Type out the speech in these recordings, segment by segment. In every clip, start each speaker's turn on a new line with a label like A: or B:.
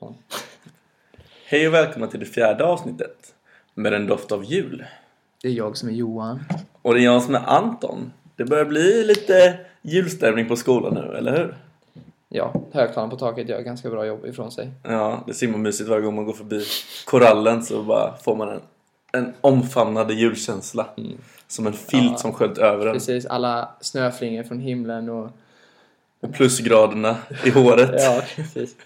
A: fan.
B: Hej och välkomna till det fjärde avsnittet med en doft av jul.
A: Det är jag som är Johan.
B: Och det är jag som är Anton. Det börjar bli lite julstämning på skolan nu, eller hur?
A: Ja, högtalaren på taket gör ganska bra jobb ifrån sig.
B: Ja, det är så himla mysigt varje gång man går förbi korallen så bara får man en, en omfamnande julkänsla. Som en filt
A: Mm. Ja.
B: som sköljt över en.
A: Precis, alla snöflingor från himlen och...
B: Och plusgraderna i håret.
A: Ja, precis.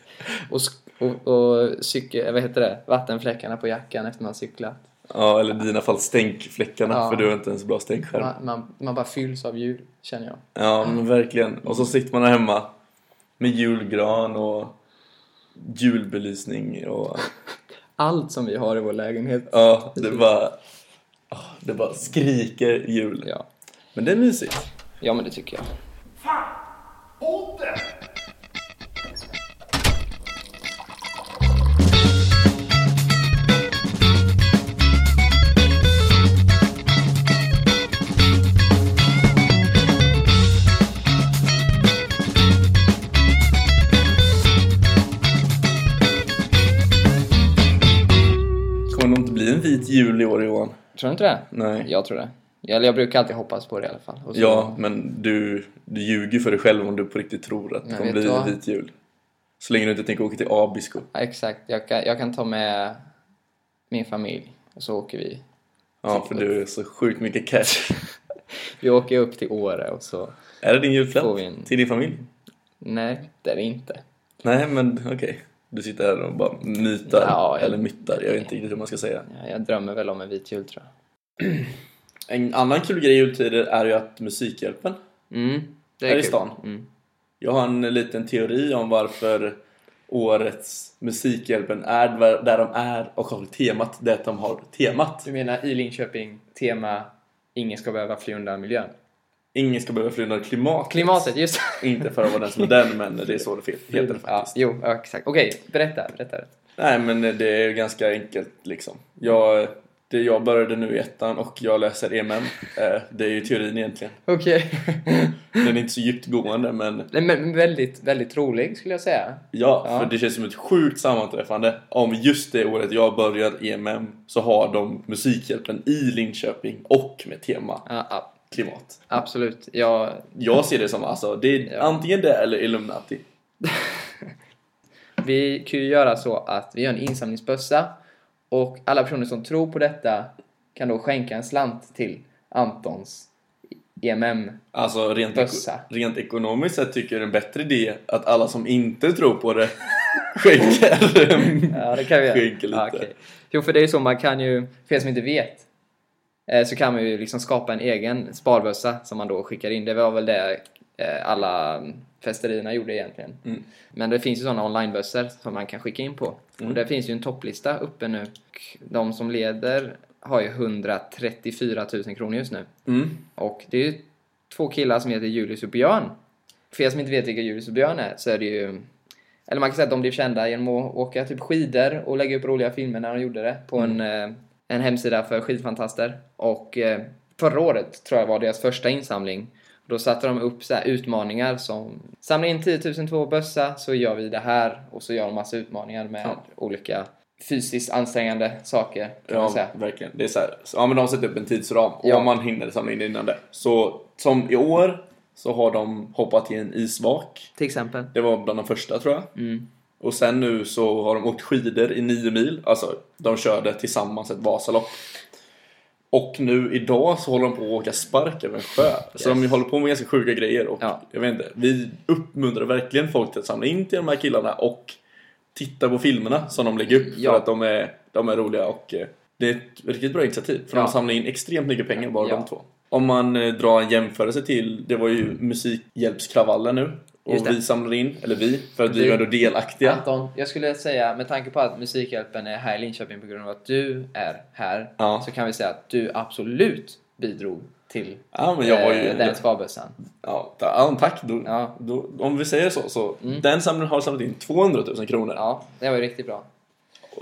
A: Och, sk- och, och cykel, eh, vad heter det? Vattenfläckarna på jackan efter man cyklat.
B: Ja, eller i dina fall stänkfläckarna
A: Ja.
B: för du har inte ens bra stänkskärm.
A: Man, man, man bara fylls av jul, känner jag.
B: Ja, men verkligen. Och så sitter man här hemma med julgran och julbelysning och
A: Allt som vi har i vår lägenhet.
B: ja, det bara ah, det bara skriker jul.
A: Ja,
B: Men det är mysigt.
A: ja men det tycker jag.
B: Kommer det inte bli en vit jul i år Johan?
A: Tror du inte det? Mm,
B: Nej.
A: Jag tror det. Eller jag brukar alltid hoppas på det i alla fall. Och så-
B: Ja, men du, du ljuger för dig själv om du på riktigt tror att det
A: Men
B: kommer
A: vet
B: bli
A: du
B: en
A: vad?
B: vit jul. Så länge du inte tänker åka till Abisko.
A: Ja, exakt. Jag kan, jag kan ta med min familj och så åker vi.
B: Ja,
A: Typ.
B: för du är så sjukt mycket cash.
A: Vi åker upp till Åre och så...
B: är det din
A: Får
B: julklapp?
A: vi en-
B: Till din familj?
A: Nej, det är det inte.
B: Nej, men okej. Du sitter här och bara mytar.
A: Ja, jag-
B: Eller myttar. Jag vet inte riktigt hur man ska säga.
A: Ja, jag drömmer väl om en vit jul tror jag.
B: En annan kul grej i jultider är ju att Musikhjälpen
A: Mm,
B: Här i
A: kul.
B: stan.
A: Mm.
B: Jag har en liten teori om varför årets Musikhjälpen är där där de är och har temat det de har temat.
A: Du menar i Linköping, tema Ingen ska behöva fly undan miljön?
B: Ingen ska behöva fly undan klimatet.
A: Klimatet, just
B: Inte för att vara den som är den, men det är så det fel- heter det
A: ja,
B: faktiskt.
A: Jo, ja, exakt. Okej, berätta, berätta.
B: Nej, men det är ganska enkelt liksom. Jag, det, jag började nu i ettan och jag läser EMN. Eh, Det är ju teorin egentligen.
A: Okej.
B: Den är inte så djupgående, men
A: Nej, men väldigt, väldigt rolig skulle jag säga.
B: Ja,
A: Ja.
B: för det känns som ett sjukt sammanträffande om just det året jag börjar EMM så har de Musikhjälpen i Linköping och med tema
A: Ja, ja,
B: klimat.
A: absolut. Jag,
B: Jag ser det som alltså, det är
A: Ja.
B: antingen det eller Illuminati.
A: Vi kan ju göra så att vi gör en insamlingsbössa och alla personer som tror på detta kan då skänka en slant till Antons E EMM.
B: Alltså rent,
A: Bössa.
B: rent ekonomiskt sett tycker jag det är en bättre idé att alla som inte tror på det skänker.
A: Ja, det kan vi göra.
B: Skänker lite.
A: Ja, okej. Jo, för det är ju så, man kan ju, för er som inte vet, eh, så kan man ju liksom skapa en egen sparbössa som man då skickar in. Det var väl det eh, alla festerierna gjorde egentligen.
B: Mm.
A: Men det finns ju sådana onlinebössor som man kan skicka in på.
B: Mm.
A: Och det finns ju en topplista uppe nu. Och De som leder har ju 134 000 kronor just nu.
B: Mm.
A: Och det är ju två killar som heter Julius och Björn. För er som inte vet vilka Julius och Björn är så är det ju... Eller man kan säga att de blev kända genom att åka typ skidor och lägga upp roliga filmer när de gjorde det på en, eh, en hemsida för skidfantaster. Och eh, förra året tror jag var deras första insamling. Då satte de upp så här utmaningar som samla in 10 000 två bössa så gör vi det här och så gör de massa utmaningar med
B: Ja.
A: olika fysiskt ansträngande saker kan man
B: Ja,
A: säga.
B: verkligen. Det är så här, så- ja, men de sätter upp en tidsram och
A: Ja.
B: om man hinner samla in det innan det. Så som i år så har de hoppat i en isvak.
A: Till exempel.
B: Det var bland de första tror jag.
A: Mm.
B: Och sen nu så har de åkt skidor i nio mil. Alltså, de körde tillsammans ett Vasalopp. Och nu idag så håller de på att åka spark över en sjö. Så de
A: Yes.
B: håller på med ganska sjuka grejer. Och
A: Ja.
B: jag vet inte, vi uppmuntrar verkligen folk till att samla in till de här killarna och titta på filmerna som de lägger upp.
A: Ja.
B: För att de är, de är roliga och eh, det är ett riktigt bra initiativ. För
A: Ja.
B: de samlar in extremt mycket pengar bara
A: Ja.
B: de två. Om man eh, drar en jämförelse till, det var ju Musikhjälpskravallen nu.
A: Just
B: Och
A: det.
B: vi samlade in, eller vi, för att vi
A: Vi.
B: var ändå delaktiga.
A: Anton, jag skulle säga med tanke på att Musikhjälpen är här i Linköping på grund av att du är här
B: Ja.
A: så kan vi säga att du absolut bidrog till
B: Ja, men jag var ju...
A: eh, den sparbössan.
B: Ja, ta- ja, tack. Då,
A: Ja. Mm.
B: då, om vi säger så, så den samlingen har samlat in 200 000 kronor.
A: Ja, det var ju riktigt bra.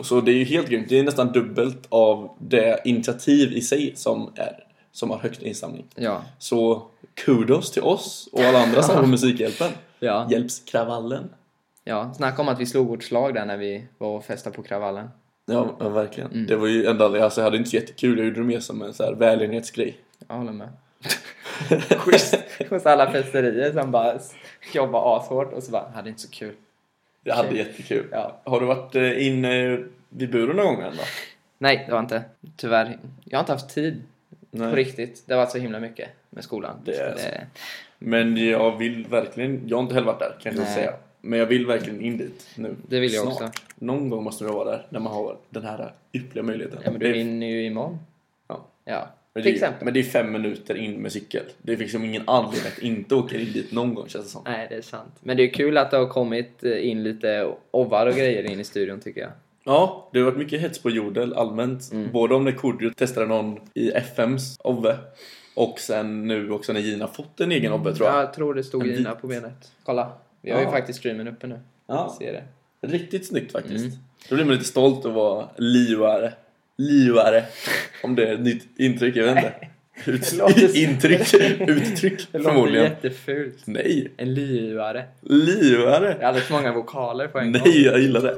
B: Så det är ju helt grymt. Det är nästan dubbelt av det initiativ i sig som, är, som har högst insamling.
A: Ja.
B: Så kudos till oss och alla andra som har Musikhjälpen.
A: Ja.
B: Hjälpskravallen.
A: Ja, snacka om att vi slog vårt slag där när vi var och festade på kravallen.
B: Ja, ja verkligen.
A: Mm.
B: Det var ju ändå, alltså, jag hade inte så jättekul, jag gjorde det mer som en så här välgörenhetsgrej.
A: Jag håller med. Schysst. Hos alla festerier som bara s- jobbar ashårt och så bara, hade inte så kul.
B: Jag hade
A: Okej.
B: jättekul.
A: Ja.
B: Har du varit eh, inne vid buren någon gång än då?
A: Nej, det var inte. Tyvärr. Jag har inte haft tid på
B: Nej.
A: riktigt. Det har varit så himla mycket med skolan.
B: Det är
A: Så
B: Men jag vill verkligen, jag har inte heller varit där kan jag
A: Nej.
B: säga. Men jag vill verkligen in dit nu.
A: Det vill jag
B: Snart.
A: också.
B: Någon gång måste jag vara där när man har den här ypperliga möjligheten.
A: ja, men
B: Det är-
A: du hinner ju imorgon.
B: Ja.
A: Ja,
B: Men
A: till
B: det, är,
A: exempel.
B: men det är fem minuter in med cykel. Det är liksom ingen anledning att inte åka in dit någon gång känns det som.
A: Nej, det är sant. Men det är kul att det har kommit eh, in lite ovar och grejer in i studion tycker jag.
B: Ja, det har varit mycket hets på jodel allmänt.
A: Mm.
B: Både om när Kodjo testade någon i FMs Ove och sen nu också när Gina fått en egen Ove tror jag.
A: Jag tror det stod
B: En vit.
A: Gina på benet. Kolla, vi har ju
B: Ja.
A: faktiskt streamen uppe nu.
B: Ja.
A: Ser det.
B: Riktigt snyggt faktiskt.
A: Mm.
B: Då blir man lite stolt att vara lioare. Lioare. Om det är ett nytt intryck, jag vet inte.
A: Det låter
B: Ut,
A: så-
B: intryck, uttryck
A: Det låter
B: förmodligen.
A: jättefult.
B: Nej,
A: En lyuare. Det är
B: lioare.
A: alldeles för många vokaler på en gång.
B: Nej, jag gillar det.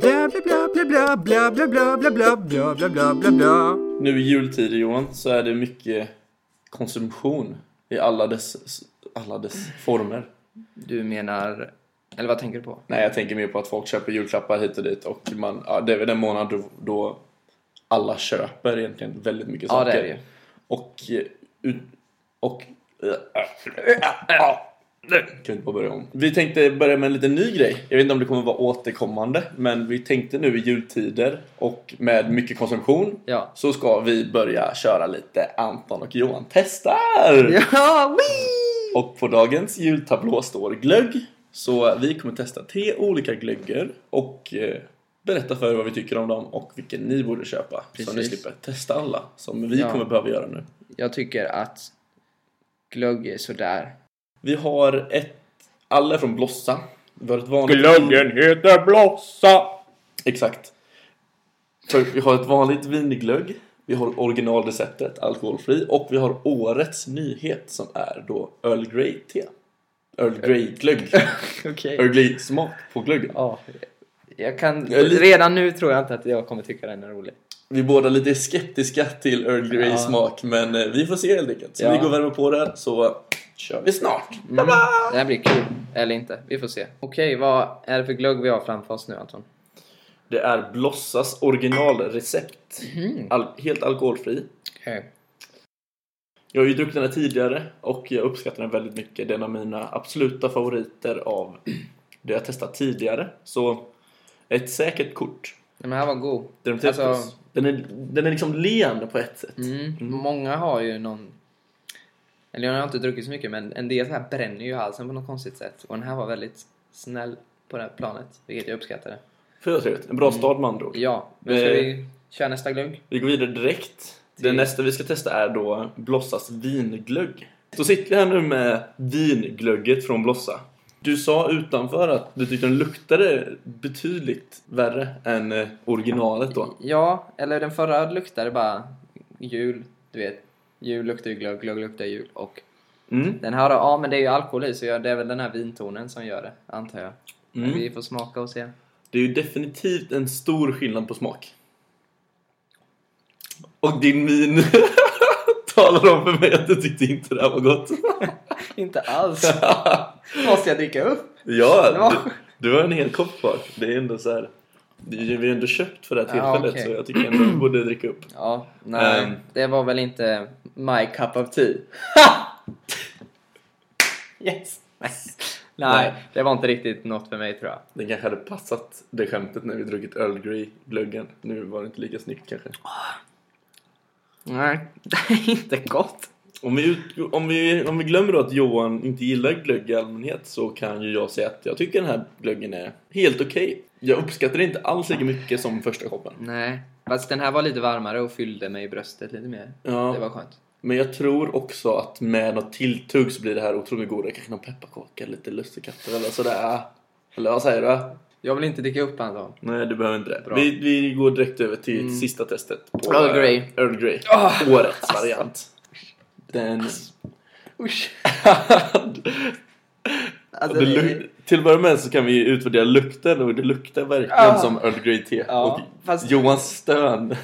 C: Blah blah blah blah blah blah blah blah blah blah blah blah blah blah.
B: Nu i jultid Johan så är det mycket konsumtion i alla dess, alla dess former.
A: Du menar... Eller vad tänker du på?
B: Nej jag tänker mer på att folk köper julklappar hit och dit och man, ja, det är väl den månad då, då alla köper egentligen väldigt mycket
A: Ja,
B: saker.
A: det är det ju.
B: Och, eh, ut- och... eh, Jag kan inte eh, bara börja om. Vi tänkte börja med en liten ny grej. Jag vet inte om det kommer vara återkommande men vi tänkte nu i jultider och med mycket konsumtion
A: Ja.
B: så ska vi börja köra lite Anton och Johan testar!
A: Ja,
B: Och på dagens jultablå står glögg. Så vi kommer testa tre olika glögger och eh, berätta för er vad vi tycker om dem och vilken ni borde köpa. Så ni
A: Precis.
B: slipper testa alla som vi
A: Ja.
B: kommer behöva göra nu.
A: Jag tycker att glögg är sådär.
B: Vi har ett... Alla är från Blossa. Vi har ett vanligt...
C: heter Blossa.
B: Exakt. För vi har ett vanligt vinglögg. Vi har originalreceptet, alkoholfri. Och vi har årets nyhet som är då Earl Grey-te. Earl Grey-glögg.
A: Okej.
B: Earl Grey-smak på glöggen.
A: Ja. Jag kan...
B: Jag är lite-
A: Redan nu tror jag inte att jag kommer tycka den är rolig.
B: Vi är båda lite skeptiska till Earl
A: Ja.
B: Grey-smak. Men eh, vi får se helt enkelt. Så
A: Ja.
B: vi går och värmer på det så kör vi snart.
A: Mm. Det här blir kul. Eller inte. Vi får se. Okej, vad är det för glögg vi har framför oss nu Anton?
B: Det är Blossas originalrecept.
A: Mhm.
B: Al- helt alkoholfri.
A: Okej.
B: Jag har ju druckit den här tidigare och jag uppskattar den väldigt mycket. Det är en av mina absoluta favoriter av det jag testat tidigare. Så ett säkert kort.
A: Den här var god.
B: Den är,
A: Alltså-
B: den är, den är liksom len på ett sätt.
A: Mm. Många har ju någon... Eller jag har inte druckit så mycket men en del så här bränner ju halsen på något konstigt sätt. Och den här var väldigt snäll på det här planet. Vilket jag uppskattade.
B: För jag trevligt. En bra
A: Mm.
B: start med andra ord.
A: Ja, nu ska
B: Eh.
A: vi köra nästa glögg.
B: Vi går vidare direkt. Det
A: Till-
B: nästa vi ska testa är då Blossas vinglögg. Så sitter vi här nu med vinglögget från Blossa. Du sa utanför att du tyckte den luktade betydligt värre än eh, originalet då.
A: Ja, eller den förra luktade bara jul. Du vet, jul luktar ju glögg, glögg luktar jul. Och
B: Mm.
A: den här, ja men det är ju alkohol i så jag- det är väl den här vintonen som gör det, antar jag. Men
B: Mm.
A: Vi får smaka och se.
B: Det är ju definitivt en stor skillnad på smak. Och din min talar om för mig att du tyckte inte det här var gott.
A: Inte alls. Måste jag dricka upp? Det
B: ja,
A: var-
B: du, du har en hel kopp kvar. Det är ändå så här. det är- Vi har ändå köpt för det här
A: Ja,
B: tillfället
A: okej.
B: så jag tycker ändå du borde dricka upp.
A: Ja, nej.
B: Ehm.
A: Det var väl inte my cup of tea. yes! Nej. nej,
B: Nej.
A: det var inte riktigt något för mig tror jag.
B: Den kanske hade passat det skämtet när vi druckit Earl Grey-glöggen. Nu var det inte lika snyggt kanske.
A: Nej, det är inte gott.
B: Om vi, ut, om vi, om vi glömmer då att Johan inte gillar glögg i allmänhet så kan ju jag säga att jag tycker den här glöggen är helt okej. Jag uppskattar det inte alls lika mycket som första koppen.
A: Nej, fast den här var lite varmare och fyllde mig i bröstet lite mer.
B: Ja.
A: Det var skönt.
B: Men jag tror också att med något tilltugg så blir det här otroligt goda. Kanske någon pepparkaka, lite lussekatter eller sådär. Eller vad säger du?
A: Jag vill inte dricka upp Anton.
B: Nej, du behöver inte det. Mm.
A: Bra.
B: Vi, vi går direkt över till sista testet. På
A: Earl Grey.
B: eh, Earl Grey. Årets variant. Den...
A: Usch. Alltså,
B: Det luk- till att börja med så kan vi utvärdera lukten och det luktar verkligen
A: Ja.
B: som Earl Grey te.
A: Ah. Ja,
B: och
A: fast-
B: Johans stön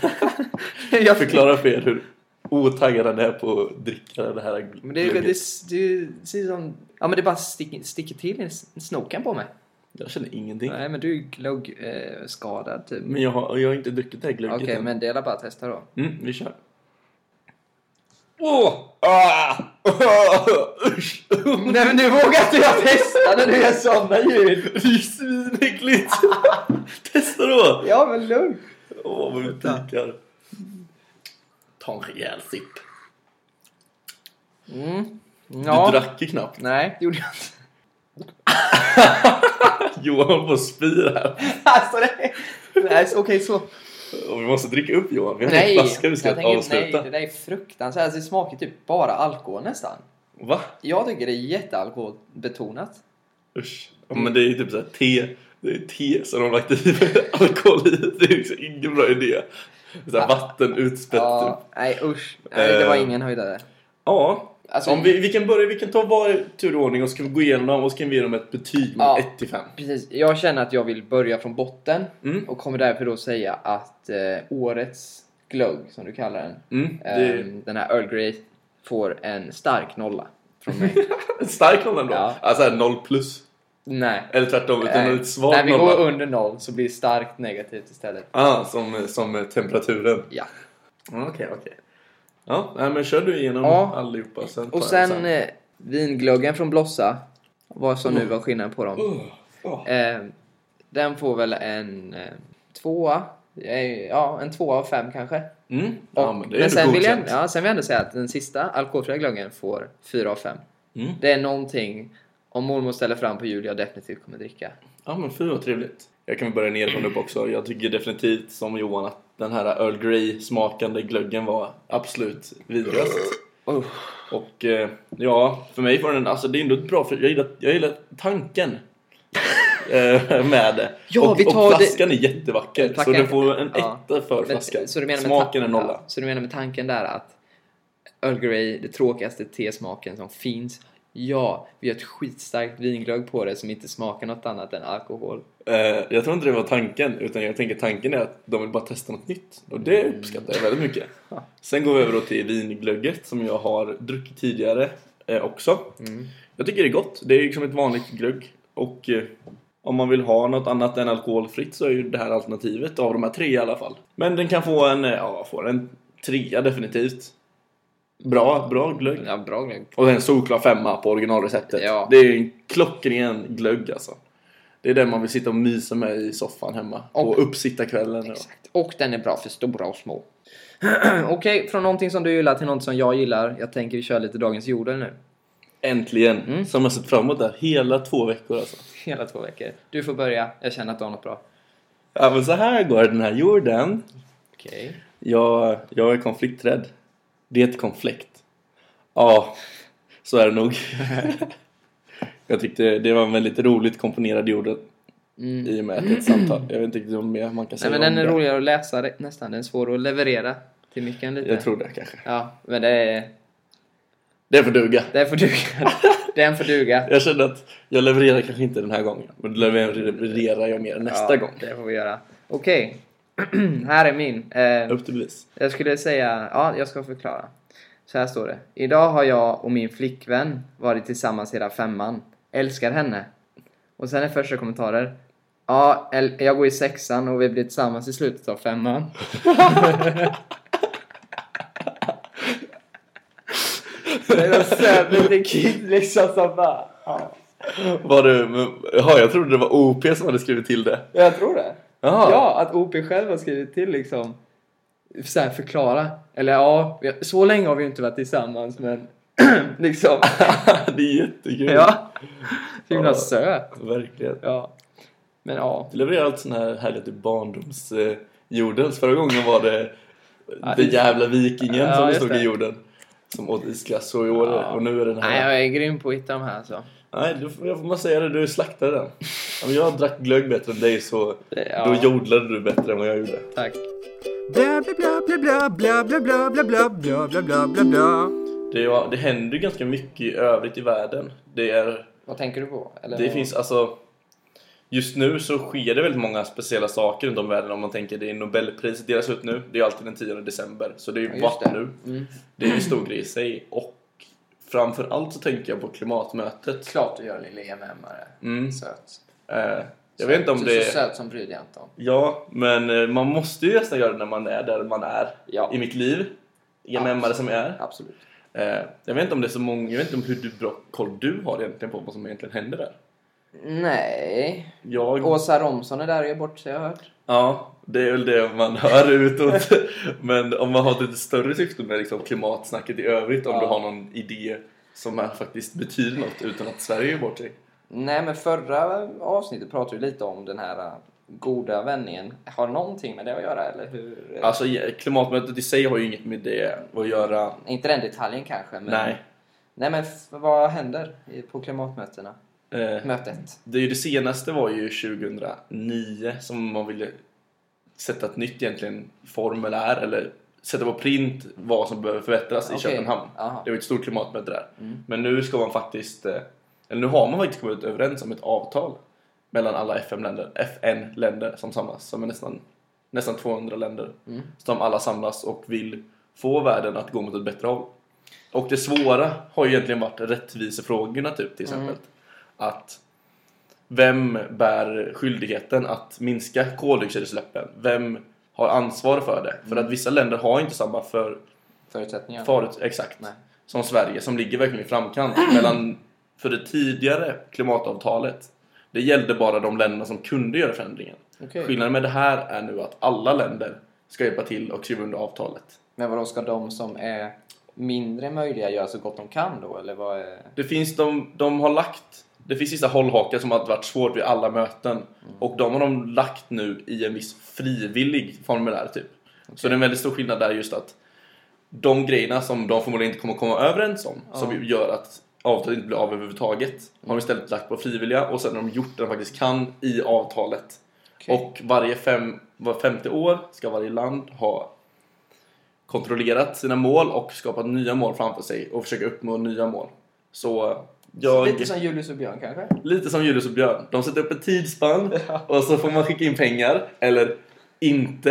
A: jag
B: förklarar för er hur otaggad han är på att dricka det här
A: Men det, det, det,
B: glögget.
A: det, det ser som... Ja men det bara sticker, sticker till i s- snoken på mig.
B: Jag känner ingenting.
A: Nej men du är glöggskadad eh, skadad, typ.
B: Men jag har, jag har inte druckit det här glögget
A: Okej
B: än.
A: men det är bara att testa då.
B: Mm, vi kör.
A: Åh!
B: Ah! Usch!
A: Nej men nu vågar inte jag testa när du gör sådana ljud!
B: Det är ju svinäckligt! Testa då!
A: Ja men lugn!
B: Åh, vad vi pikar. Ta en rejäl sipp.
A: Mm.
B: Du
A: Ja.
B: drack ju knappt.
A: Nej, det gjorde jag inte.
B: Johan håller på att spy här.
A: Alltså det... Nej, så- okej så.
B: Och vi måste dricka upp Johan. Vi har en
A: Nej!
B: flaska vi
A: jag
B: ska
A: tänker-
B: avsluta.
A: Nej, det där är fruktansvärt. Alltså, det smakar typ bara alkohol nästan.
B: Va?
A: Jag tycker det är jättealkoholbetonat.
B: Usch. Ja, men det är ju typ såhär te. Det är te som de har lagt i alkohol i. Det är liksom ingen bra idé. Så här vatten utspätt typ.
A: Ja, nej usch. Nej, det var
B: Eh.
A: ingen höjdare.
B: Ja.
A: Alltså-
B: Om vi, vi kan börja, vi kan ta var tur och ordning och så kan vi gå igenom dem och så kan vi ge dem ett betyg
A: Ja.
B: mellan 1 till 5.
A: Precis, jag känner att jag vill börja från botten
B: Mm.
A: och kommer därför då säga att eh, årets glögg, som du kallar den,
B: Mm. Det är
A: ehm, den här Earl Grey, får en stark nolla från mig.
B: en stark nolla ändå.
A: Ja.
B: Alltså 0 plus.
A: Nej.
B: Eller tvärtom, utan
A: Nej.
B: en lite svag
A: När vi
B: nolla.
A: går under noll så blir det starkt negativt istället.
B: ah, som, som temperaturen.
A: Ja.
B: Okej, Mm, okej. Ja, nej, men kör du igenom
A: Ja.
B: allihopa sen. tar
A: Och
B: jag
A: sen eh, vinglöggen från Blossa, vad som
B: Mm.
A: nu var skillnaden på dem.
B: Uh, uh.
A: Eh, den får väl en eh, tvåa, eh, ja en tvåa av fem kanske.
B: Mm.
A: Och,
B: Ja, men
A: men
B: det är
A: sen,
B: ändå
A: vill jag,
B: godkänt.
A: ja, sen vill jag ändå säga att den sista alkoholfria glöggen får 4 av 5.
B: Mm.
A: Det är någonting om mormor ställer fram på jul jag definitivt kommer dricka.
B: Ja men fy vad trevligt. Jag kan väl börja nerifrån upp också. Jag tycker definitivt som Johan att den här Earl Grey smakande glöggen var absolut vidrigast.
A: Oh.
B: Och eh, ja, för mig var den, alltså det är ändå ett bra, för jag gillar, jag gillar tanken. eh, med det.
A: Ja,
B: och,
A: vi tar
B: och
A: det-
B: flaskan är jättevacker. Så
A: Tackar.
B: den får en
A: Ja.
B: etta för flaskan.
A: så, du menar med
B: Smaken
A: ta-
B: är nolla.
A: Ja, så du menar med tanken där att Earl Grey, det tråkigaste tesmaken som finns. Ja, vi har ett skitstarkt vinglögg på det som inte smakar något annat än alkohol.
B: Eh, jag tror inte det var tanken, utan jag tänker tanken är att de vill bara testa något nytt. Och det uppskattar jag väldigt mycket. Sen går vi över då till vinglögget som jag har druckit tidigare eh, också. Jag tycker det är gott. Det är liksom ett vanligt glögg. Och eh, om man vill ha något annat än alkoholfritt så är ju det här alternativet av de här tre i alla fall. Men den kan få en, eh, ja, får en trea definitivt. Bra, bra glögg.
A: Ja, bra glögg.
B: Och sen solklar femma på originalreceptet.
A: Ja.
B: Det är ju en klockren glögg alltså. Det är den man vill sitta och mysa med i soffan hemma. På
A: Och-
B: uppsittarkvällen. och-
A: Exakt. Och den är bra för stora och små. Okej, från någonting som du gillar till något som jag gillar. Jag tänker vi kör lite Dagens jorden nu.
B: Äntligen!
A: Mm.
B: Som jag sett fram emot där hela två veckor alltså.
A: Hela två veckor. Du får börja. Jag känner att du har något bra.
B: Ja men så här går den här jorden.
A: Okej.
B: Jag, jag är konflikträdd. Det är ett konflikt. Ja, så är det nog. jag tyckte det var en väldigt roligt komponerad jorden. I och med att det är ett samtal. Jag vet inte riktigt vad mer man kan
A: Mm. Nej
B: säga
A: men
B: om
A: den är
B: det.
A: roligare att läsa re- nästan. Den är svår att leverera till micken lite.
B: Jag tror det kanske.
A: Ja, men det är...
B: Det får duga.
A: Den får duga. den får duga.
B: Jag kände att jag levererar kanske inte den här gången. Men levererar jag mer nästa
A: ja,
B: gång.
A: Det får vi göra. Okej. här är min. Eh,
B: Upp till bevis.
A: jag skulle säga... Ja, jag ska förklara. Så här står det. Idag har jag och min flickvän varit tillsammans hela femman. Älskar henne. Och sen är första kommentarer. Ja, el- jag går i sexan och vi blir tillsammans i slutet av femman. det är en söt liten kid liksom som bara... Ja,
B: Var det, men- ja, jag trodde det var OP som hade skrivit till det.
A: jag tror det.
B: Jaha.
A: Ja, att OP själv har skrivit till liksom så här förklara. Eller ja, vi har- så länge har vi ju inte varit tillsammans men liksom.
B: det är jättekul.
A: ja. Så himla
B: Ja.
A: söt.
B: Verkligen.
A: Ja. Men ja.
B: Du levererar allt sån här härligt ur barndomsjordens. Förra gången var det den jävla vikingen
A: Ja,
B: som det
A: just
B: stod i
A: det.
B: jorden. Som åt isglass och i år.
A: Ja.
B: Och nu är den här.
A: Nej, jag är grym på att hitta de här alltså. så.
B: Nej, du, får- jag får man säga det. Du slaktade den. Ja, men jag drack glögg bättre än dig så
A: Det- ja.
B: då jodlade du bättre än vad jag gjorde.
A: Tack.
C: Bla bla bla bla bla bla bla bla bla bla bla bla bla bla.
B: Det, är- det händer ju ganska mycket i övrigt i världen. Det är
A: Vad tänker du på? Eller
B: Det
A: vad-
B: finns alltså... Just nu så sker det väldigt många speciella saker runt om i världen. Om man tänker det är Nobelpriset delas ut nu. Det är ju alltid den 10 december. Så det är ju
A: Ja, just
B: bara
A: det.
B: nu.
A: Mm.
B: Det är ju en stor grej i sig. Och framförallt så tänker jag på klimatmötet.
A: Klart du gör en lille EMM-are.
B: Mm.
A: Söt.
B: Eh, jag vet inte om
A: du
B: det
A: är så
B: är...
A: söt som prydlig Anton.
B: Ja, men eh, man måste ju nästan göra det när man är där man är
A: Ja,
B: i mitt liv. EMM-are som jag är.
A: absolut.
B: Eh, jag vet inte om det är så många... Jag vet inte om hur du, bra koll du har egentligen på vad som egentligen händer där.
A: Nej.
B: Jag...
A: Åsa Romson är där och gör bort sig har jag hört.
B: Ja, det är väl det man hör utåt. Men om man har ett lite större syfte med liksom klimatsnacket i övrigt, om
A: Ja.
B: du har någon idé som är, faktiskt betyder något utan att Sverige gör bort sig.
A: Nej men förra avsnittet pratade vi lite om den här äh, goda vändningen. Har någonting med det att göra eller hur? äh,
B: Alltså ja, klimatmötet i sig har ju inget med det att göra.
A: Inte den detaljen kanske men...
B: Nej.
A: Nej men f- vad händer i- på klimatmötena?
B: Eh,
A: Mötet?
B: Det, är ju det senaste var ju 2009 som man ville sätta ett nytt egentligen formulär eller sätta på print vad som behöver förbättras i
A: Okej.
B: Köpenhamn.
A: Aha.
B: Det var ett stort klimatmöte där.
A: Mm.
B: Men nu ska man faktiskt, eh, eller nu har man faktiskt kommit överens om ett avtal mellan alla FN-länder, FN-länder som samlas, som är nästan, nästan 200 länder.
A: Mm.
B: Som alla samlas och vill få världen att gå mot ett bättre håll. Och det svåra har ju egentligen varit rättvisefrågorna typ till exempel.
A: Mm.
B: Att vem bär skyldigheten att minska koldioxidutsläppen? Vem har ansvar för det?
A: Mm.
B: För att vissa länder har inte samma för,
A: Förutsättningar?
B: Förut, exakt.
A: Nej.
B: Som Sverige, som ligger verkligen i framkant. Mellan, för det tidigare klimatavtalet, det gällde bara de länderna som kunde göra förändringen.
A: Okej.
B: Skillnaden med det här är nu att alla länder ska hjälpa till och skriva under avtalet.
A: Men vadå, ska de som är mindre möjliga göra så gott de kan då? Eller vad är...
B: Det finns de, de har lagt, det finns vissa hållhakar som har varit svårt vid alla möten och de har de lagt nu i en viss frivillig formulär typ. Så det är en väldigt stor skillnad där just att de grejerna som de förmodligen inte kommer komma överens om
A: Ja.
B: som gör att avtalet inte blir av överhuvudtaget har de istället lagt på frivilliga och sen har de gjort det de faktiskt kan i avtalet.
A: Okej.
B: Och varje fem, var femte år ska varje land ha kontrollerat sina mål och skapat nya mål framför sig och försöka uppnå nya mål. Så jag...
A: Lite som Julius och Björn kanske?
B: Lite som Julius och Björn. De sätter upp ett tidsspann och så får man skicka in pengar eller inte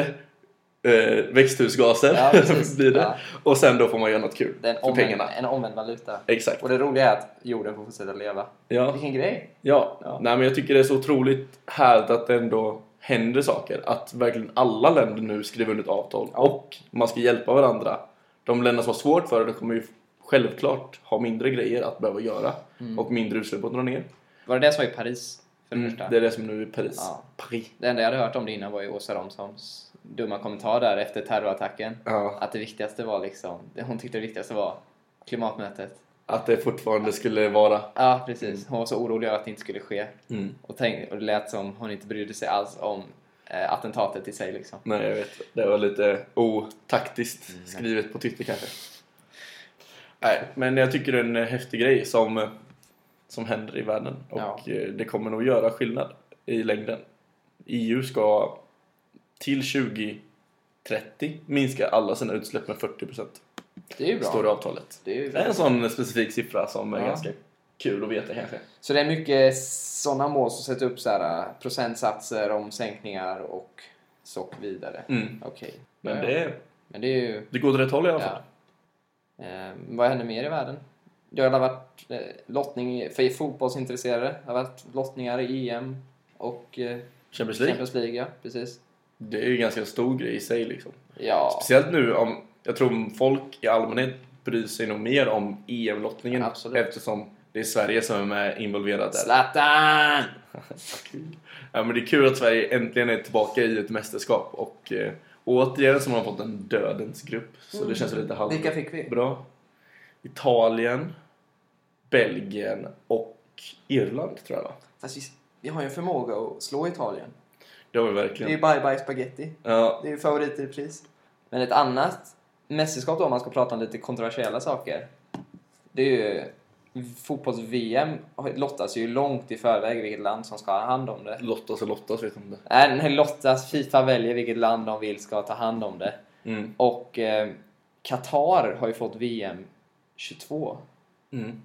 B: eh, växthusgaser.
A: Ja, precis.
B: blir det.
A: Ja.
B: Och sen då får man göra något kul
A: Det är en
B: för
A: omvänd,
B: pengarna.
A: en omvänd valuta.
B: Exakt.
A: Och det roliga är att jorden får fortsätta leva.
B: Ja.
A: Vilken grej!
B: Ja.
A: Ja.
B: Nej, men jag tycker det är så otroligt härligt att det ändå händer saker. Att verkligen alla länder nu skriver under ett avtal och man ska hjälpa varandra. De länder som har svårt för det de kommer ju självklart ha mindre grejer att behöva göra
A: Mm.
B: och mindre utsläpp att dra ner.
A: Var det det som var i Paris? För det, första?
B: Mm, Det är det som nu är Paris.
A: Ja.
B: Paris.
A: det enda jag hade hört om det innan var ju Åsa Romsons dumma kommentar där efter terrorattacken.
B: Ja.
A: Att det viktigaste var liksom, det hon tyckte det viktigaste var klimatmötet.
B: Att det fortfarande skulle vara.
A: Ja, precis. Hon var så orolig över att det inte skulle ske.
B: Mm.
A: Och, tänk, och det lät som hon inte brydde sig alls om eh, attentatet i sig liksom.
B: Nej, jag vet. Det var lite otaktiskt
A: Mm,
B: skrivet på Twitter kanske. Nej, men jag tycker det är en häftig grej som, som händer i världen. Och
A: Ja.
B: eh, det kommer nog göra skillnad i längden. EU ska till 2030 minska alla sina utsläpp med 40%
A: Det är ju bra.
B: står det i avtalet.
A: Det är ju
B: Det är en sån specifik siffra som är
A: Ja.
B: ganska kul att veta kanske.
A: Så det är mycket sådana mål som sätter upp så här, eh, procentsatser om sänkningar och så vidare.
B: Mm.
A: Okej.
B: Men
A: Ja, ja.
B: det,
A: Men det är ju...
B: det går åt rätt håll i alla fall.
A: Ja. Eh, vad händer mer i världen? Det har varit eh, lottning för fotbollsintresserade. Det har varit lottningar i EM och eh,
B: Champions League.
A: Champions League. Ja, precis.
B: Det är ju en ganska stor grej i sig liksom.
A: Ja,
B: Speciellt nu om, jag tror folk i allmänhet bryr sig nog mer om EM-lottningen
A: Absolut.
B: eftersom det är Sverige som är med involverad där.
A: Zlatan!
B: Ja, men det är kul att Sverige äntligen är tillbaka i ett mästerskap och eh, återigen så har man fått en dödens grupp så det känns lite halv...
A: Mm. Vilka fick vi?
B: Bra. Italien, Belgien och Irland tror jag va?
A: Fast vi, vi har ju en förmåga att slå Italien.
B: Det har vi
A: Det är ju
B: verkligen.
A: bye bye spaghetti.
B: Ja,
A: Det är ju favoriter i pris. Men ett annat mästerskap då, om man ska prata om lite kontroversiella saker. Det är ju fotbolls-VM lottas ju långt i förväg vilket land som ska ha hand om det.
B: lottas och lottas vet jag inte.
A: Nej, nej, Äh, lottas. Fifa väljer vilket land de vill ska ta hand om det.
B: Mm.
A: Och eh, Qatar har ju fått VM 22.
B: Mm.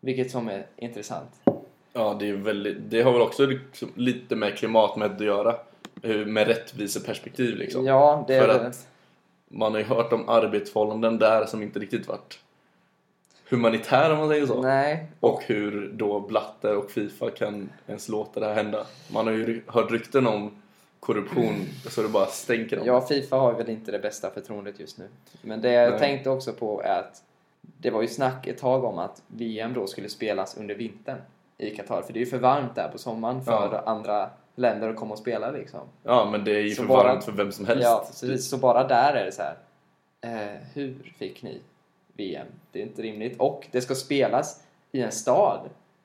A: Vilket som är intressant.
B: Ja, det, är väldigt, det har väl också liksom lite med klimatmätet att göra. Hur- Med rättviseperspektiv liksom.
A: Ja, det är
B: För
A: det.
B: att- Man har ju hört om arbetsförhållanden där som inte riktigt varit humanitära om man säger så.
A: Nej,
B: Och hur då Blatter och Fifa kan ens låta det här hända. Man har ju ry- hört rykten om korruption så det bara stänker om.
A: Ja, Fifa har väl inte det bästa förtroendet just nu. Men det jag
B: Nej.
A: tänkte också på är att det var ju snack ett tag om att VM då skulle spelas under vintern i Qatar. För det är ju för varmt där på sommaren för
B: Ja.
A: andra länder att komma och spela liksom.
B: Ja, men det är ju
A: Så
B: för
A: bara-
B: varmt för vem som helst.
A: Ja, precis. Så bara där är det så här. Eh, hur fick ni VM? Det är inte rimligt. Och det ska spelas i en stad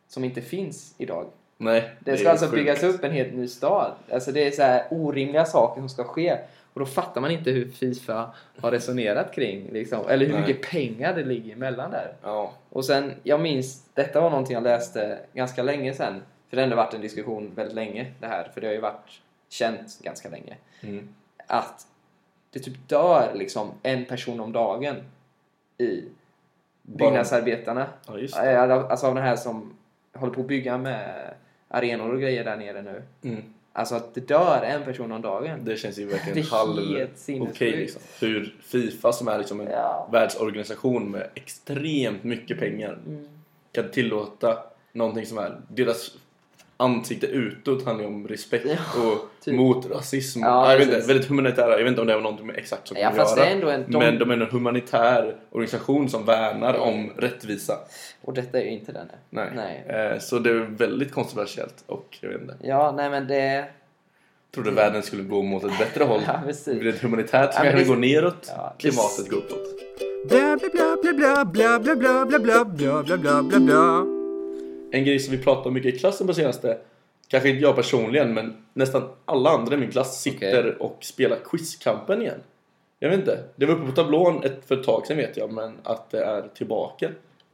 A: som inte finns idag.
B: Nej,
A: Det ska
B: är
A: alltså
B: sjukt.
A: byggas upp en helt ny stad. Alltså det är så här orimliga saker som ska ske. Och då fattar man inte hur Fifa har resonerat kring. Liksom. Eller hur
B: Nej.
A: mycket pengar det ligger emellan där.
B: Ja,
A: Och sen, jag minns, detta var någonting jag läste ganska länge sedan. För det har ändå varit en diskussion väldigt länge det här. För det har ju varit känt ganska länge.
B: Mm.
A: Att det typ dör liksom en person om dagen i byggnadsarbetarna.
B: ja just det.
A: Ja, Alltså av den här som håller på att bygga med arenor och grejer där nere nu.
B: Mm.
A: Alltså att det dör en person om dagen.
B: Det känns ju
A: Det
B: verkligen
A: är
B: halv...
A: helt
B: Okej
A: sinnessjukt.
B: liksom. Hur Fifa som är liksom en
A: Ja.
B: världsorganisation med extremt mycket pengar
A: Mm.
B: kan tillåta någonting som är... Deras ansikte utåt handlar ju om respekt och
A: typ.
B: mot rasism.
A: Ja,
B: Ja, jag vet inte,
A: precis.
B: väldigt humanitära. Jag vet inte om det var någonting med exakt som
A: Ja,
B: kan
A: fast
B: göra.
A: det är ändå en- de-
B: Men de är en humanitär organisation som värnar om rättvisa.
A: Och detta är ju inte den. här.
B: Nej.
A: Mm. nej.
B: Eh, Så det är väldigt kontroversiellt och jag vet inte.
A: Ja, nej men det...
B: trodde världen skulle gå mot ett bättre håll.
A: Ja, precis.
B: Det blir ett humanitärt
A: Ja,
B: som
A: men
B: kanske
A: det-
B: går neråt,
A: Ja, det-
B: klimatet går uppåt.
C: Bla bla bla bla bla bla bla bla bla bla bla bla bla bla.
B: En grej som vi pratade om mycket i klassen på senaste, kanske inte jag personligen, men nästan alla andra i min klass sitter och spelar Quizkampen igen. Jag vet inte, det var uppe på tablån ett, för ett tag sedan vet jag, men att det är tillbaka.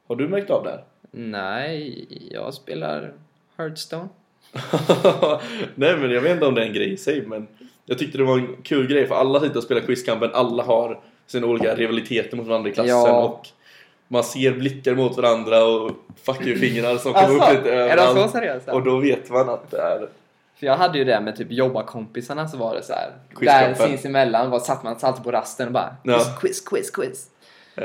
B: Har du märkt av det här?
A: Nej, jag spelar Hearthstone.
B: Nej men jag vet inte om det är en grej i sig men Jag tyckte det var en kul grej för alla sitter och spelar quizkampen Alla har sina olika rivaliteter mot varandra i klassen
A: Ja.
B: och Man ser blickar mot varandra och fuck you-fingrar som kommer
A: Alltså,
B: upp lite
A: är de så
B: överallt
A: seriösa?
B: Och då vet man att det är
A: För jag hade ju det med typ jobbarkompisarna så var det så här. Där
B: Quizkampen.
A: sinsemellan var, satt man satt på rasten och bara
B: Ja.
A: quiz, quiz, quiz, quiz.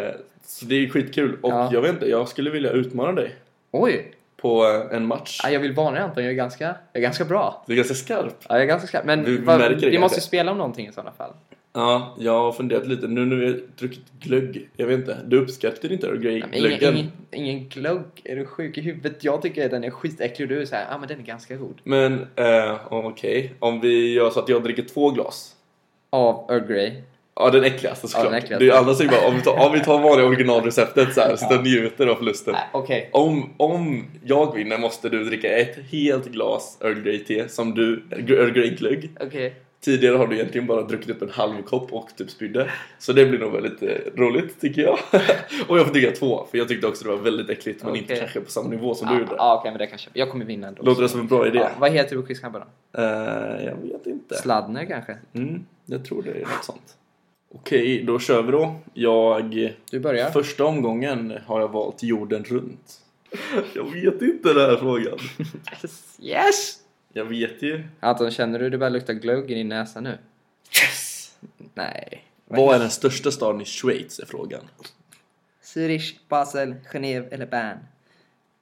B: eh, Så det är skitkul och
A: Ja.
B: jag vet inte, jag skulle vilja utmana dig
A: Oj!
B: På eh, en match
A: Ja, Jag vill varna dig Anton, jag är ganska, jag är ganska bra.
B: Du är ganska skarp
A: Ja, jag är ganska skarp. Men
B: Vi-
A: vi,
B: vi
A: va,
B: märker det
A: vi måste
B: kanske.
A: ju spela om någonting i sådana fall.
B: Ja, jag har funderat lite nu när vi har druckit glögg Jag vet inte, du uppskattade inte
A: Nej,
B: grej-
A: men ingen,
B: glöggen
A: ingen, ingen glögg, är du sjuk i huvudet? Jag tycker att den är skitäcklig och du är såhär, ja ah, men den är ganska god.
B: Men eh, okej, om vi gör så att jag dricker två glas
A: Av Earl Grey.
B: Ja den äckligaste såklart.
A: den äckligaste.
B: Det är ju alla som bara, om vi tar, om vi tar vanliga originalreceptet så, här, så njuter av förlusten.
A: Nej, okej.
B: Om, om jag vinner måste du dricka ett helt glas Earl Grey te som du, Earl Grey glögg.
A: Okej.
B: Tidigare har du egentligen bara druckit upp en halv kopp och typ spydde. Så det blir nog väldigt eh, roligt tycker jag. och jag får dricka två för jag tyckte också det var väldigt äckligt men inte
A: Okej.
B: kanske på samma nivå som
A: Ja,
B: du gjorde.
A: ja, okej, men det kanske. Jag kommer vinna ändå.
B: Låter det som en bra idé?
A: Ja, vad heter du på quizkampen då?
B: Eh, jag vet inte.
A: Sladdner kanske?
B: Mm, jag tror det är något sånt. Okej, då kör vi då. Jag
A: Du börjar.
B: Första omgången har jag valt jorden runt. Jag vet inte den här frågan.
A: Yes! yes!
B: Jag vet ju.
A: Anton, känner du det börjar lukta glögg i din näsa nu? Nej.
B: Vad är den största staden i Schweiz är frågan.
A: Zürich, Basel, Genève eller Bern?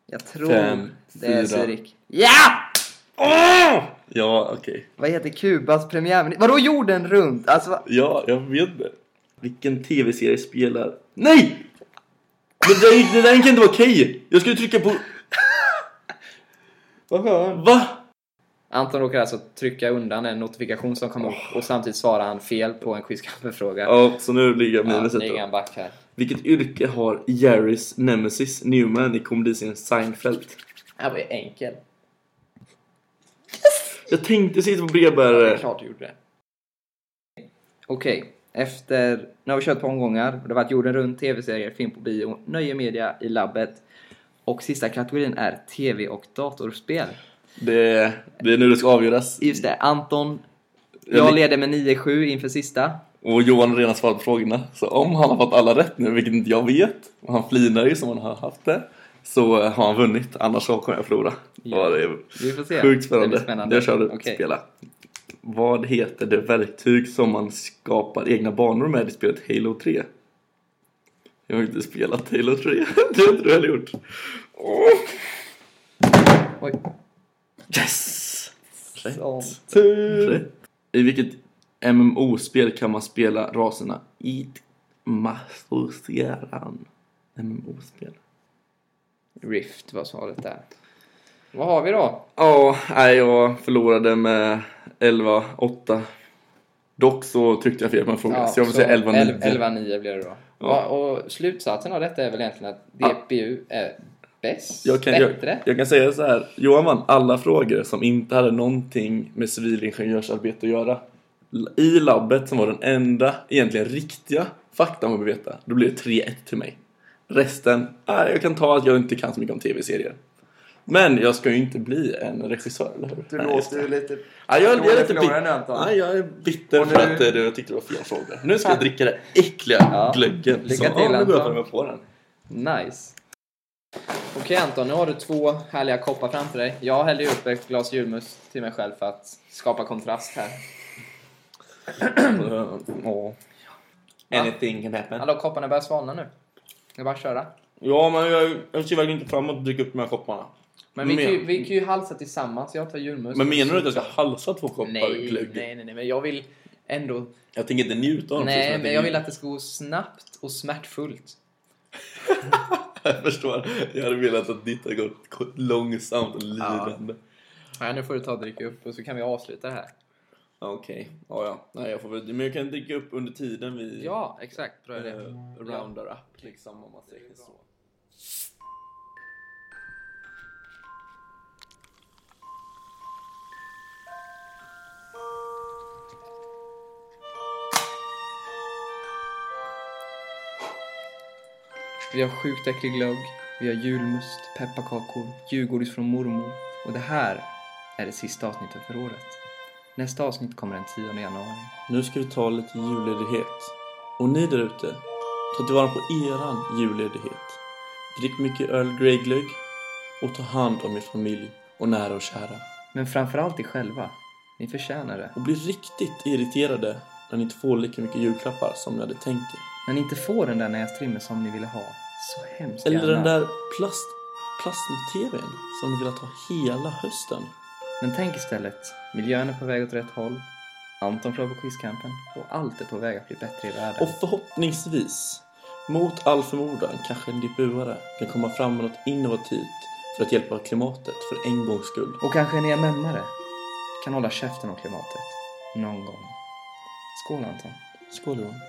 A: Jag tror
B: Fem,
A: det är
B: fyra.
A: Zürich. Ja!
B: Ah! Ja, okej.
A: Vad heter Kubas premiärminister? Vadå jorden runt? Alltså, va-
B: Ja, jag vet det. Vilken tv-serie spelar... Nej! Det där, det där kan inte vara okej! Jag skulle trycka på... Va?
A: Anton råkar alltså trycka undan en notifikation som kom upp och samtidigt svarar han fel på en quizkampen-fråga.
B: Ja, så nu ligger jag
A: Ja,
B: minus
A: nu
B: ett
A: är
B: då.
A: han back här.
B: Vilket yrke har Jerrys nemesis Newman i komediserien Seinfeld?
A: Det här var ju enkel.
B: Jag tänkte sist på brevbärare.
A: klart du gjorde det. Okej, efter... Nu har vi kört på omgångar. Det har varit jorden runt, tv-serier, film på bio, nöje media i labbet. Och sista kategorin är tv och datorspel.
B: Det, det är nu det ska avgöras.
A: Just det, Anton.
B: Jag
A: Jag
B: li-
A: leder med 9-7 inför sista.
B: Och Johan har redan svarat på frågorna. Så om han har fått alla rätt nu, vilket inte jag vet. Och han flinar ju som han har haft det. så eh, har han vunnit. Annars så kommer jag förlora.
A: Ja.
B: Ja, det är
A: Vi får se.
B: sjukt
A: Det
B: spännande.
A: blir spännande.
B: Jag kör du.
A: Okej.
B: Spela. Vad heter det verktyg som man skapar egna banor med i spelet Halo 3? Jag har inte spelat Halo 3. det har inte du heller gjort.
A: Oj.
B: Yes! Rätt.
A: Sånt.
B: Rätt. I vilket MMO-spel kan man spela raserna Eat Massosieran? MMO-spel.
A: Rift var svaret där. Vad har vi då?
B: Ja, nej, jag förlorade med 11-8. Dock så tryckte jag fel på en fråga, så jag vill
A: så
B: säga 11-9.
A: elv- 11-9 blir det då.
B: Ja.
A: Ja. Och slutsatsen av detta är väl egentligen att DPU är bäst,
B: jag kan, jag,
A: bättre.
B: jag kan säga så här. Johan vann alla frågor som inte hade någonting med civilingenjörsarbete att göra. L- I labbet, som var den enda egentligen riktiga faktan man vill veta, då blir det 3-1 till mig. Resten, ah, jag kan ta att jag inte kan så mycket om tv-serier. Men jag ska ju inte bli en regissör, eller hur?
D: Du
B: Nej, just det.
D: låter ju lite...
B: Ja, jag, jag, är
D: dålig
B: lite
D: förlorare
B: bit-
D: nu, Anton.
B: Nej, jag är bitter
D: Och
B: för
D: nu-
B: att eh, du tyckte det var fel frågor. Nu ska jag dricka den äckliga
A: Ja.
B: glöggen.
A: Lycka
B: Så,
A: till,
B: ja, nu går jag
A: Anton.
B: fram och får den.
A: Nice. Okej Anton, nu har du två härliga koppar framför dig. Jag häller ju upp ett glas julmust till mig själv för att skapa kontrast här.
B: Ja. Anything can happen.
A: Alla kopparna börjar svalna nu. Det är bara att köra.
B: Ja, men jag, jag ser verkligen inte fram emot att dricka upp de här kopparna.
A: Men vi, kan ju,
B: Men-
A: vi kan ju halsa tillsammans. Jag tar julmust.
B: Men menar du att jag ska halsa två koppar
A: nej,
B: glögg?
A: nej, nej, nej, men jag vill ändå...
B: Jag tänker inte njuta av dem. precis
A: Nej,
B: som
A: men jag vill
B: tänker-
A: att det ska gå snabbt och smärtfullt.
B: Jag förstår. Jag hade velat att ditt hade gått gått långsamt och lidande.
A: Ja, nu får du ta och dricka upp och så kan vi avsluta det här.
B: Okej. Ja, ja. Nej, jag får väl... Men jag kan dricka upp under tiden vi...
A: Ja, exakt. Bra idé.
B: eh, roundar up liksom om man säger så.
A: Vi har sjukt äcklig glögg, vi har julmust, pepparkakor, julgodis från mormor och det här är det sista avsnittet för året. Nästa avsnitt kommer den 10 januari.
B: Nu ska vi ta lite julledighet. Och ni där ute, ta tillvara på eran julledighet. Drick mycket Earl Grey-glögg och ta hand om er familj och nära och kära.
A: Men framförallt er själva. Ni förtjänar det.
B: Och bli riktigt irriterade när ni inte får lika mycket julklappar som ni hade tänkt er.
A: När ni inte får den där nästrimmen som ni ville ha, så hemskt
B: Eller
A: gärna.
B: den där plast, plasma-tvn som ni velat ha hela hösten.
A: Men tänk istället, miljön är på väg åt rätt håll, Anton klarar på quizkampen och allt är på väg att bli bättre i världen.
B: Och förhoppningsvis, mot all förmodan, kanske en DPU-are kan komma fram med något innovativt för att hjälpa klimatet för en gångs skull.
A: Och kanske en EMM-are kan hålla käften om klimatet. Någon gång. Skål Anton.
B: Skål Johan.